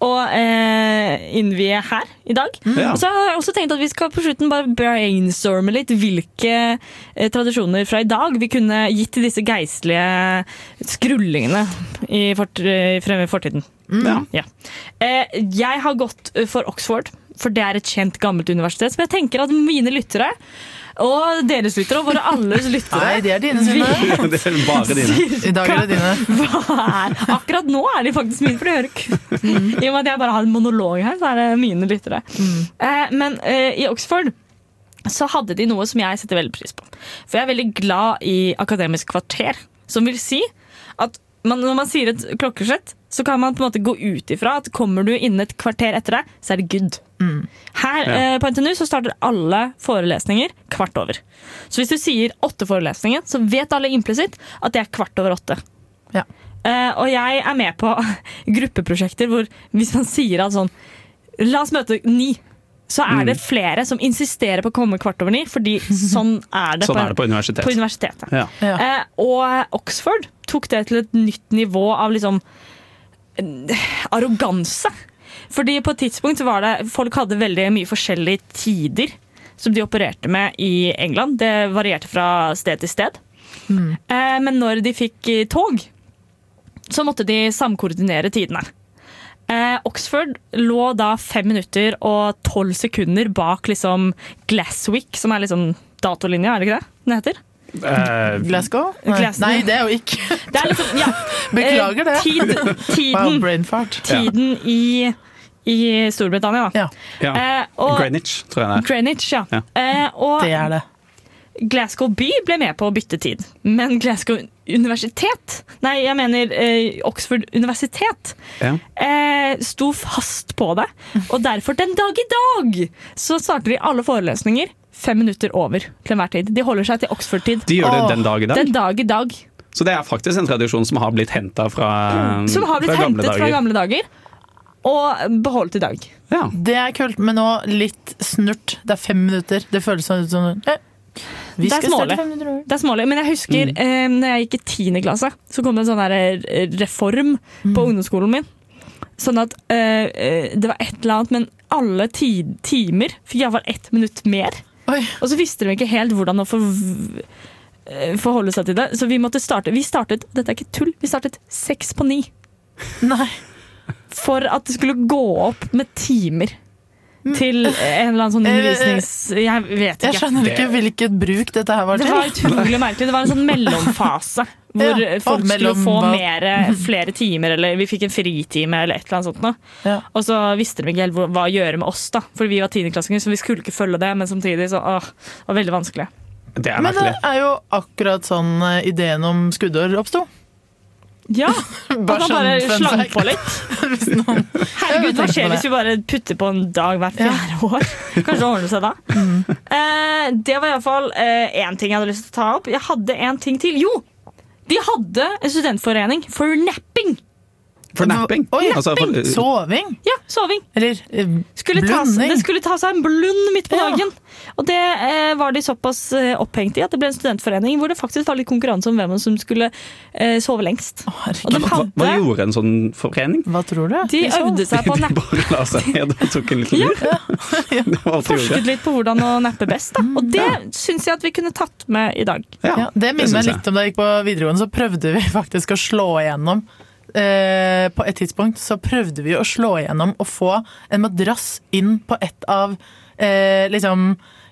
Speaker 1: Og eh, innvie her i dag.
Speaker 2: Ja.
Speaker 1: Og så har jeg også tenkt at vi skal på slutten bare brainstorme litt hvilke eh, tradisjoner fra i dag vi kunne gitt til disse geistlige skrullingene i fort, eh, fremme i fortiden.
Speaker 2: Mm. Ja.
Speaker 1: Ja. Eh, jeg har gått eh, for Oxford, for det er et kjent gammelt universitet. Men jeg tenker at mine lyttere, og deres lyttere, og våre alles lyttere
Speaker 3: Nei, det er dine, Synne.
Speaker 2: Det er bare dine.
Speaker 3: I dag er det dine.
Speaker 1: Hva er Akkurat nå er de faktisk mine, for det hører ikke I og med at jeg bare har en monolog her, så er det mine lyttere. Eh, men eh, i Oxford så hadde de noe som jeg setter veldig pris på. For jeg er veldig glad i Akademisk kvarter, som vil si at man, når man sier et klokkeslett, så kan man på en måte gå ut ifra at kommer du innen et kvarter etter deg, så er det good. Her eh, på NTNU så starter alle forelesninger kvart over. Så hvis du sier åtte forelesninger, så vet alle implisitt at det er kvart over åtte.
Speaker 3: Ja.
Speaker 1: Eh, og jeg er med på gruppeprosjekter hvor hvis man sier at sånn La oss møte ni. Så er
Speaker 2: Mm.
Speaker 1: det flere som insisterer på å komme kvart over ni, fordi sånn er det,
Speaker 2: Sånn er det på universitet.
Speaker 1: på universitetet.
Speaker 2: Ja.
Speaker 3: Ja.
Speaker 1: Eh, og Oxford tok det til et nytt nivå av liksom eh, arroganse. Fordi på et tidspunkt så var det folk hadde veldig mye forskjellige tider som de opererte med i England. Det varierte fra sted til sted. Eh, men når de fikk eh, tog, så måtte de samkoordinere tidene. Eh, Oxford lå da fem minutter og tolv sekunder bak liksom Glasswick, som er liksom datolinja, er det ikke det den heter?
Speaker 2: Eh,
Speaker 3: Glasgow? Nei,
Speaker 1: Glasgow.
Speaker 3: Nei det er jo ikke.
Speaker 1: Det er liksom, ja.
Speaker 3: Beklager det.
Speaker 1: Eh, Tid,
Speaker 3: Wow,
Speaker 1: tiden
Speaker 3: brain fart.
Speaker 1: tiden i, i Storbritannia, da.
Speaker 3: Ja,
Speaker 2: ja.
Speaker 1: Eh, og
Speaker 2: Greenwich, tror jeg det er.
Speaker 1: Greenwich, ja.
Speaker 2: Ja.
Speaker 1: Eh, og
Speaker 3: det er det.
Speaker 1: Glasgow by ble med på å bytte tid, men Glasgow universitet, nei, jeg mener eh, Oxford universitet,
Speaker 2: Ja.
Speaker 1: eh, sto fast på det. Og derfor, den dag i dag, så starter de alle forelesninger fem minutter over til enhver tid. De holder seg til Oxford-tid.
Speaker 2: De gjør det
Speaker 3: Åh,
Speaker 2: den dag i dag.
Speaker 1: Den dag i dag.
Speaker 2: Så det er faktisk en tradisjon som har blitt henta fra,
Speaker 1: Mm, Som har blitt
Speaker 2: Mm, fra gamle
Speaker 1: hentet fra gamle dager og beholdt i dag.
Speaker 2: Ja.
Speaker 3: Det er kult, men nå litt snurt. Det er fem minutter. Det føles sånn ut som eh, Vi
Speaker 1: Det er
Speaker 3: skal
Speaker 1: smålig.
Speaker 3: starte fem minutter over.
Speaker 1: Det er smålig, men jeg husker
Speaker 3: Mm.
Speaker 1: eh, når jeg gikk i 10. klasse, så kom det en sånn der eh, reform på
Speaker 3: Mm.
Speaker 1: ungdomsskolen min. Sånn at eh, eh, det var et eller annet, men alle ti timer fikk iallfall ett minutt mer.
Speaker 3: Oi.
Speaker 1: Og så visste de ikke helt hvordan å forv- eh, forholde seg til det, så vi måtte starte. Vi startet, dette er ikke tull, vi startet seks på ni
Speaker 3: Nei.
Speaker 1: for at det skulle gå opp med timer. Til en eller annen sånn
Speaker 3: Mm. Eh, eh,
Speaker 1: undervisnings... Jeg vet ikke.
Speaker 3: Jeg skjønner ikke hvilket bruk dette her var
Speaker 1: Det
Speaker 3: til.
Speaker 1: var utrolig merkelig. Det var en sånn mellomfase. Hvor
Speaker 3: Ja,
Speaker 1: folk
Speaker 3: og
Speaker 1: skulle
Speaker 3: mellom-
Speaker 1: få mere- flere timer, eller vi fikk en fritime eller et eller annet sånt. Da.
Speaker 3: Ja.
Speaker 1: Og så visste de ikke helt hvor- hva å gjøre med oss, da. For vi var tiendeklassinger, så vi skulle ikke følge det. Men samtidig så åh, det var veldig vanskelig.
Speaker 2: Det er
Speaker 3: Men eh, det
Speaker 2: merkelig.
Speaker 3: er jo akkurat sånn eh, ideen om skuddår oppsto. sånn
Speaker 1: Ja, At man bare slang på litt.
Speaker 3: Hvis noen
Speaker 1: Herregud, hva
Speaker 3: Jeg
Speaker 1: skjer
Speaker 3: tenkte på
Speaker 1: hvis vi bare putter på en dag hvert
Speaker 3: Ja. Mm.
Speaker 1: fjerde år? Kanskje det ordner seg da. Eh, det var iallfall én eh, ting jeg hadde lyst til å ta opp. Jeg hadde en ting til. Jo! Vi hadde en studentforening for napping.
Speaker 2: For napping.
Speaker 3: Oi,
Speaker 2: Altså, for-
Speaker 3: Soving?
Speaker 1: Ja, soving.
Speaker 3: Eller eh,
Speaker 1: skulle ta,
Speaker 3: blunding?
Speaker 1: det skulle ta seg en blund midt på
Speaker 3: Ja.
Speaker 1: dagen. Og det eh, var de såpass eh, opphengt i at det ble en studentforening hvor det faktisk var litt konkurranse om hvem som skulle eh, sove lengst.
Speaker 3: Å,
Speaker 1: Og de
Speaker 3: herregud.
Speaker 2: hva, hva
Speaker 1: hadde
Speaker 2: gjorde en sånn forening?
Speaker 3: Hva tror du?
Speaker 1: De øvde seg på å
Speaker 2: De
Speaker 1: nappe.
Speaker 2: bare la seg ned og tok en liten lur. Det var alt de gjorde.
Speaker 1: Forsket litt på hvordan å nappe best. Da. Og det syns jeg at vi kunne tatt med i dag.
Speaker 3: Ja, det minner
Speaker 2: synes
Speaker 3: meg
Speaker 2: jeg.
Speaker 3: litt om da jeg gikk på videregående, så prøvde vi faktisk å slå igjennom. Eh, på et tidspunkt så prøvde vi å slå igjennom og få en madrass inn på et av eh, liksom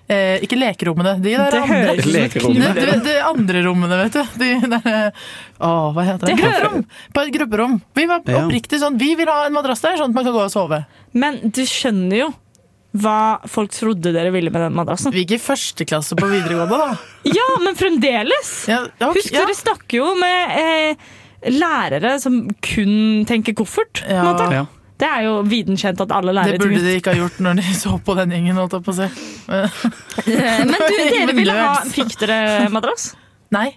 Speaker 3: eh, Ikke lekerommene, de der
Speaker 1: Det høres
Speaker 3: andre.
Speaker 1: ut som
Speaker 3: Nei,
Speaker 2: Lekerommene.
Speaker 1: et
Speaker 3: De, de andre rommene, vet du. De der eh, Å, hva heter det?
Speaker 1: Det hører-
Speaker 3: Grupperom. På et grupperom. Vi var
Speaker 2: Ja.
Speaker 3: oppriktig sånn Vi vil ha en madrass der, sånn at man kan gå og sove.
Speaker 1: kniv. Men du skjønner jo hva folk trodde dere ville med den madrassen.
Speaker 3: Vi gikk i første klasse på videregående, da.
Speaker 1: Ja, men fremdeles!
Speaker 3: Ja, ok,
Speaker 1: Husk,
Speaker 3: ja.
Speaker 1: dere snakker jo med eh, lærere som kun tenker koffert. på en
Speaker 3: Ja.
Speaker 1: måte.
Speaker 2: Ja.
Speaker 1: Det er jo viden kjent at alle
Speaker 3: Det
Speaker 1: lærere
Speaker 3: burde
Speaker 1: tenker-
Speaker 3: de ikke ha gjort når de så på den gjengen, holdt jeg på å si.
Speaker 1: Eh, Men du, dere ville ha
Speaker 3: Løs.
Speaker 1: Fikk dere madrass?
Speaker 3: Nei.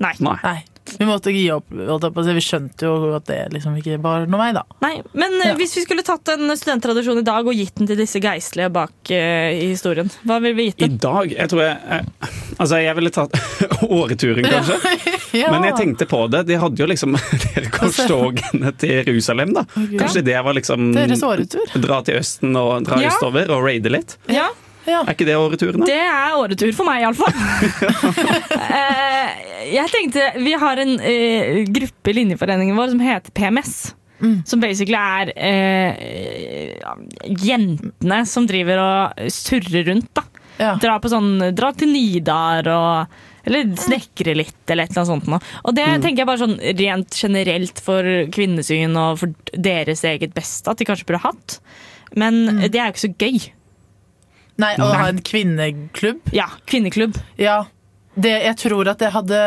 Speaker 1: Nei.
Speaker 2: Nei.
Speaker 3: Nei. Vi måtte ikke gi opp. holdt jeg på å si. Vi skjønte jo at det liksom ikke var noe vei, da.
Speaker 1: Nei. Men eh,
Speaker 3: Ja.
Speaker 1: hvis vi skulle tatt en studenttradisjon i dag og gitt den til disse geistlige bak eh, i historien, hva ville vi gitt
Speaker 2: I
Speaker 1: dem?
Speaker 2: dag Jeg tror jeg eh, Altså, jeg ville tatt åreturen, kanskje.
Speaker 3: Ja.
Speaker 2: Men jeg tenkte på det. De hadde jo liksom Dere korstogene til Jerusalem, da. Kanskje det var liksom
Speaker 3: Deres åretur.
Speaker 2: Dra til Østen og dra
Speaker 1: Ja.
Speaker 2: østover og raide litt.
Speaker 1: Ja,
Speaker 3: Ja.
Speaker 2: Er ikke det åreturen, da?
Speaker 1: Det er åretur for meg, iallfall. Eh, jeg tenkte Vi har en eh, gruppe i linjeforeningen vår som heter PMS. Som basically er eh, ja, jentene som driver og surrer rundt, da.
Speaker 3: Ja.
Speaker 1: Dra, på sånn, dra til Nidar og Eller snekre litt, eller et eller annet sånt. Noe. Og det
Speaker 3: Mm.
Speaker 1: tenker jeg bare sånn rent generelt for kvinnesyn og for deres eget beste at de kanskje burde hatt. Men det er jo ikke så gøy.
Speaker 3: Nei, å ha en kvinneklubb.
Speaker 1: Ja, kvinneklubb.
Speaker 3: Ja. Det, jeg tror at det hadde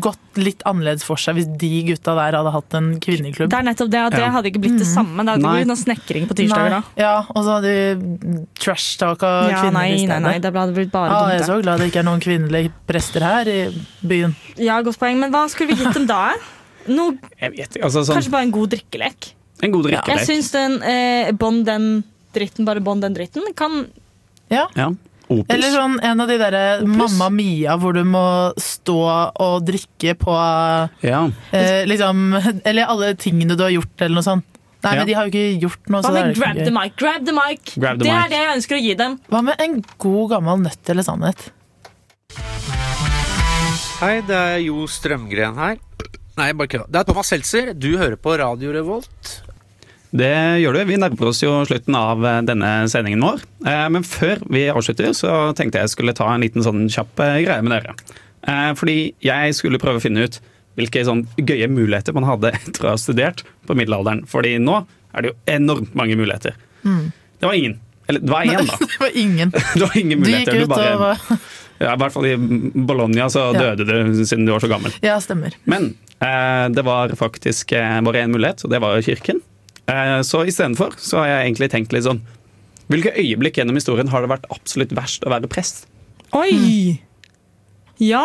Speaker 3: gått litt annerledes for seg hvis de gutta der hadde hatt en kvinneklubb.
Speaker 1: Det er nettopp det, at det
Speaker 2: Ja.
Speaker 1: hadde ikke blitt det samme. Det hadde ikke
Speaker 2: Nei.
Speaker 1: blitt noe snekring på tirsdager da.
Speaker 3: Nei. Ja, og så hadde de trash-talka
Speaker 1: Ja,
Speaker 3: kvinner
Speaker 1: nei,
Speaker 3: i
Speaker 1: nei,
Speaker 3: stedet.
Speaker 1: nei, det hadde blitt bare
Speaker 3: ah, jeg er
Speaker 1: dumt.
Speaker 3: så glad det ikke er noen kvinnelige prester her i byen.
Speaker 1: da. Ja, godt poeng, men hva skulle vi gitt dem da?
Speaker 3: Sånn.
Speaker 1: Noe,
Speaker 2: Jeg vet ikke, altså sånn
Speaker 1: kanskje bare en god drikkelek?
Speaker 2: En god
Speaker 1: Jeg
Speaker 2: drikkelek.
Speaker 1: syns den eh, bånd den dritten, bare bånd den dritten, kan
Speaker 2: Ja. Opus.
Speaker 3: Eller sånn en av de derre Mamma Mia, hvor du må stå og drikke på
Speaker 2: ja.
Speaker 3: eh, liksom Eller alle tingene du har gjort, eller noe sånt. Nei,
Speaker 2: Ja.
Speaker 3: men de har jo ikke gjort
Speaker 1: Hva
Speaker 3: noe. Så Altså, det er
Speaker 1: med
Speaker 3: jo
Speaker 1: grab
Speaker 3: ikke
Speaker 1: the
Speaker 3: gøy.
Speaker 1: mic? Grab the mic!
Speaker 2: Grab the
Speaker 1: det
Speaker 2: mic.
Speaker 1: er det jeg ønsker å gi dem.
Speaker 3: Hva med en god gammel nøtt eller sannhet?
Speaker 9: Hei, det er Jo Strømgren her. Nei, bare kødda. Det er Thomas Seltzer. Du hører på Radio Revolt.
Speaker 2: Det gjør du. Vi nærmer oss jo slutten av eh, denne sendingen vår. Eh, Men før vi avslutter, så tenkte jeg skulle ta en liten sånn kjapp eh, greie med dere. Eh, Fordi jeg skulle prøve å finne ut hvilke sånn gøye muligheter man hadde etter å ha studert på middelalderen. Fordi nå er det jo enormt mange muligheter.
Speaker 3: Mm.
Speaker 2: Det var ingen. Eller det var én, da.
Speaker 3: Det var ingen.
Speaker 2: Det var ingen
Speaker 3: Du gikk
Speaker 2: muligheter.
Speaker 3: ut og var
Speaker 2: ja, I hvert fall i Bologna så
Speaker 3: Ja.
Speaker 2: døde du siden du var så gammel.
Speaker 3: Ja, stemmer.
Speaker 2: Men eh, det var faktisk eh, bare én mulighet, og det var jo kirken. Eh, så istedenfor så har jeg egentlig tenkt litt sånn Hvilke øyeblikk gjennom historien har det vært absolutt verst å være prest?
Speaker 1: Oi! Ja!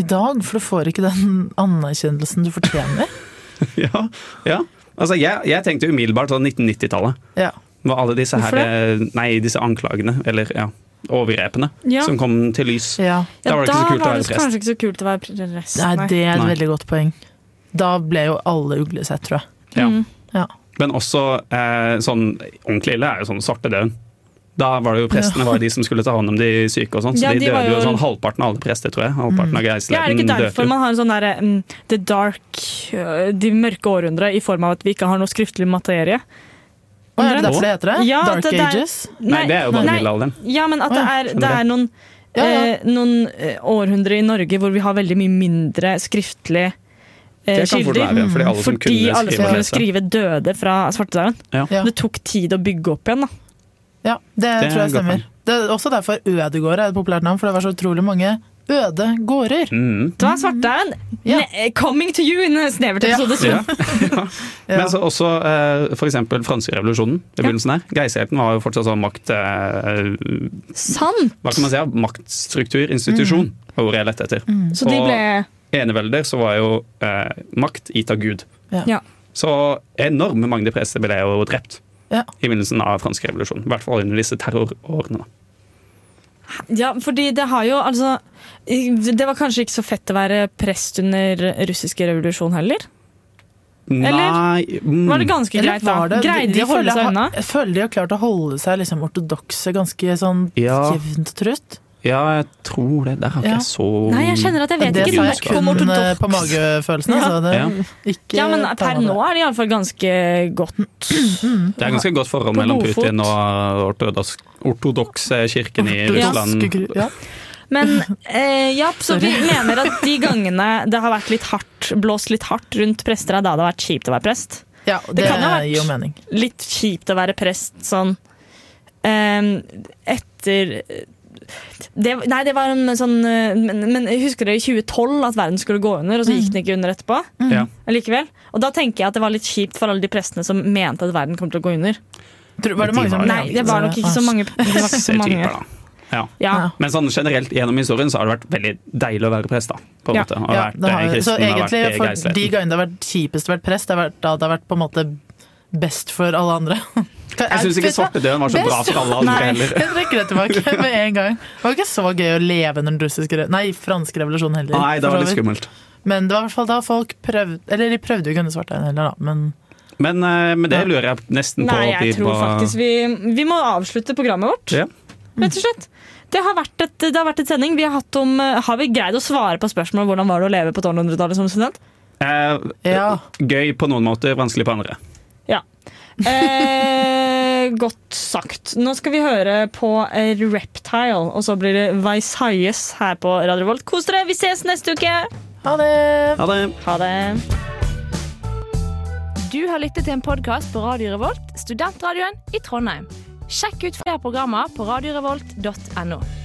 Speaker 3: I dag, for du får ikke den anerkjennelsen du fortjener.
Speaker 2: ja, ja. Altså, jeg, jeg tenkte umiddelbart sånn 1990-tallet.
Speaker 3: Ja.
Speaker 2: Med alle disse, her,
Speaker 1: Hvorfor
Speaker 2: eh, nei, disse anklagene, eller ja, overgrepene,
Speaker 1: Ja.
Speaker 2: som kom til lys.
Speaker 3: ja.
Speaker 1: ja
Speaker 2: Da var det ikke så kult å
Speaker 1: var
Speaker 2: være
Speaker 1: det
Speaker 2: prest.
Speaker 1: kanskje ikke så kult å være prest.
Speaker 3: Nei,
Speaker 1: nei.
Speaker 3: det er et
Speaker 2: Nei.
Speaker 3: veldig godt poeng. Da ble jo alle uglesett, tror jeg.
Speaker 2: Ja.
Speaker 1: Mm.
Speaker 3: Ja.
Speaker 2: Men også eh, sånn ordentlig ille er jo sånn svartedauden. Da var det jo prestene var de som skulle ta hånd om de syke og sånn, så
Speaker 1: Ja,
Speaker 2: de,
Speaker 1: de var
Speaker 2: døde jo
Speaker 1: jo- Mm.
Speaker 2: sånn halvparten av alle prester, tror jeg. Halvparten av
Speaker 1: Ja, er det
Speaker 2: geisleten
Speaker 1: ikke
Speaker 2: døde
Speaker 1: derfor
Speaker 2: jo.
Speaker 1: man har en sånn derre mm, The Dark, øh, de mørke århundre, i form av at vi ikke har noe skriftlig materie?
Speaker 3: Å, er det derfor det heter det?
Speaker 1: Ja,
Speaker 3: Dark
Speaker 1: det- det er-
Speaker 3: Ages?
Speaker 2: Nei, det er jo bare
Speaker 1: nei,
Speaker 2: middelalderen.
Speaker 1: Ja, men at det er, det er noen,
Speaker 3: Ja, ja.
Speaker 1: eh, noen eh, århundre i Norge hvor vi har veldig mye mindre skriftlig eh,
Speaker 2: Det kan fort
Speaker 1: kilder.
Speaker 2: være, fordi alle som
Speaker 1: Fordi
Speaker 2: kunne
Speaker 1: alle som
Speaker 2: skrive og
Speaker 1: kunne
Speaker 2: lese.
Speaker 1: skrive døde fra svartedauden.
Speaker 3: Ja.
Speaker 1: Det tok tid å bygge opp igjen, da.
Speaker 3: Ja, det,
Speaker 2: Det er
Speaker 3: tror jeg
Speaker 2: et godt
Speaker 3: stemmer.
Speaker 2: poeng.
Speaker 3: Det er også derfor Ødegård er et populært navn, for det var så utrolig mange øde gårder.
Speaker 2: Mm.
Speaker 1: Det var svartedauden!
Speaker 3: Ja.
Speaker 1: Ne- eh, Coming to you in en snevert
Speaker 3: Ja.
Speaker 1: episode.
Speaker 2: Ja.
Speaker 1: Ja.
Speaker 3: Ja.
Speaker 2: Men så også eh, for eksempel franske revolusjonen i begynnelsen her. Geisleten var jo fortsatt sånn makt... Eh,
Speaker 1: Sant!
Speaker 2: hva kan man si? ja? Maktstruktur, institusjon,
Speaker 1: Mm.
Speaker 2: var ordet jeg lette etter.
Speaker 1: Så de
Speaker 2: Og-
Speaker 1: ble
Speaker 2: Enevelder så var jo eh, makt gitt av Gud.
Speaker 3: Ja.
Speaker 1: Ja.
Speaker 2: Så enorme mange prester ble jo drept
Speaker 3: Ja.
Speaker 2: i begynnelsen av fransk revolusjon. I hvert fall under disse terrorårene. da.
Speaker 1: Ja, fordi det har jo altså Det var kanskje ikke så fett å være prest under russiske revolusjon heller? Eller?
Speaker 2: Nei mm,
Speaker 1: Var det ganske
Speaker 3: Eller
Speaker 1: greit, da?
Speaker 3: var det-
Speaker 1: Greide de å holde
Speaker 3: holder-
Speaker 1: seg unna?
Speaker 3: Jeg føler de har klart å holde seg liksom ortodokse ganske sånn
Speaker 2: Ja.
Speaker 3: jevnt og trutt.
Speaker 2: Ja, jeg tror det. Der har ikke
Speaker 3: Ja.
Speaker 2: jeg så
Speaker 1: Nei, jeg kjenner at jeg vet
Speaker 3: Det
Speaker 1: ikke
Speaker 3: sa jeg
Speaker 1: nok om
Speaker 3: kun eh,
Speaker 1: ortodoks.
Speaker 3: på magefølelsen. Altså, det,
Speaker 2: Ja.
Speaker 3: ikke
Speaker 1: Ja, men
Speaker 3: ta
Speaker 1: per
Speaker 3: med
Speaker 1: nå
Speaker 3: det.
Speaker 1: er det iallfall ganske godt.
Speaker 2: Det er ganske godt forhold
Speaker 1: På
Speaker 2: mellom
Speaker 1: Lofot.
Speaker 2: Putin og ortodoks- ortodokse kirken i Russland.
Speaker 3: Ortodokse gru- Ja.
Speaker 1: Men eh, ja, så vi mener at de gangene det har vært litt hardt, blåst litt hardt rundt prester, er da det har vært kjipt å være prest.
Speaker 3: ja, det,
Speaker 1: kan ha vært-
Speaker 3: gir jo mening.
Speaker 1: Litt kjipt å være prest sånn eh, etter det, Nei, det var en sånn eh, men, men husker dere i 2012 at verden skulle gå under, og så gikk den ikke under etterpå?
Speaker 2: Mm. Ja.
Speaker 1: Likevel. Og da tenker jeg at det var litt kjipt for alle de prestene som mente at verden kom til å gå under.
Speaker 3: Tror, var det mange som
Speaker 2: Ja,
Speaker 1: Nei, det var nok ikke så mange. Det var ikke så
Speaker 2: Se typer,
Speaker 1: mange.
Speaker 2: da. Ja.
Speaker 1: Ja.
Speaker 3: Ja.
Speaker 2: Men sånn generelt gjennom historien så har det vært veldig deilig å være prest. da, på en
Speaker 1: Ja.
Speaker 2: måte. Å
Speaker 3: Ja,
Speaker 2: være
Speaker 3: det har,
Speaker 2: kristen,
Speaker 3: så
Speaker 2: å være
Speaker 3: egentlig, for
Speaker 2: geisleten.
Speaker 3: de gangene det har vært kjipest å være prest, det har vært da det har vært på en måte best for alle andre.
Speaker 2: Jeg syns ikke svartedauden var så bra for alle andre
Speaker 3: Nei,
Speaker 2: heller.
Speaker 3: jeg trekker det tilbake med en gang. Det var ikke så gøy å leve under den russiske re- Nei, franske revolusjonen heller.
Speaker 2: Nei, det
Speaker 3: for så
Speaker 2: var litt
Speaker 3: vidt.
Speaker 2: skummelt.
Speaker 3: Men det var i hvert fall da folk prøvde Eller de prøvde jo ikke under svartedauden heller, da. Men
Speaker 2: Men eh, med det lurer jeg nesten på
Speaker 1: Nei, jeg
Speaker 2: de
Speaker 1: tror
Speaker 2: var-
Speaker 1: faktisk vi, vi må avslutte programmet vårt,
Speaker 2: Ja.
Speaker 1: rett og slett. Det har vært et, det har vært et sending. Vi har, hatt om, eh, har vi greid å svare på spørsmålet om hvordan var det å leve på 1200-tallet som student?
Speaker 2: Eh,
Speaker 3: Ja.
Speaker 2: Gøy på noen måter, vanskelig på andre.
Speaker 1: Eh, godt sagt. Nå skal vi høre på eh, Reptile, og så blir det Vaisaies her på Radio Volt. Kos dere, vi ses neste uke!
Speaker 3: ha det!
Speaker 2: Ha det!
Speaker 1: Ha det.
Speaker 6: Du har lyttet til en podkast på Radio Revolt, studentradioen i Trondheim.
Speaker 10: Sjekk ut flere programmer på radiorevolt.no.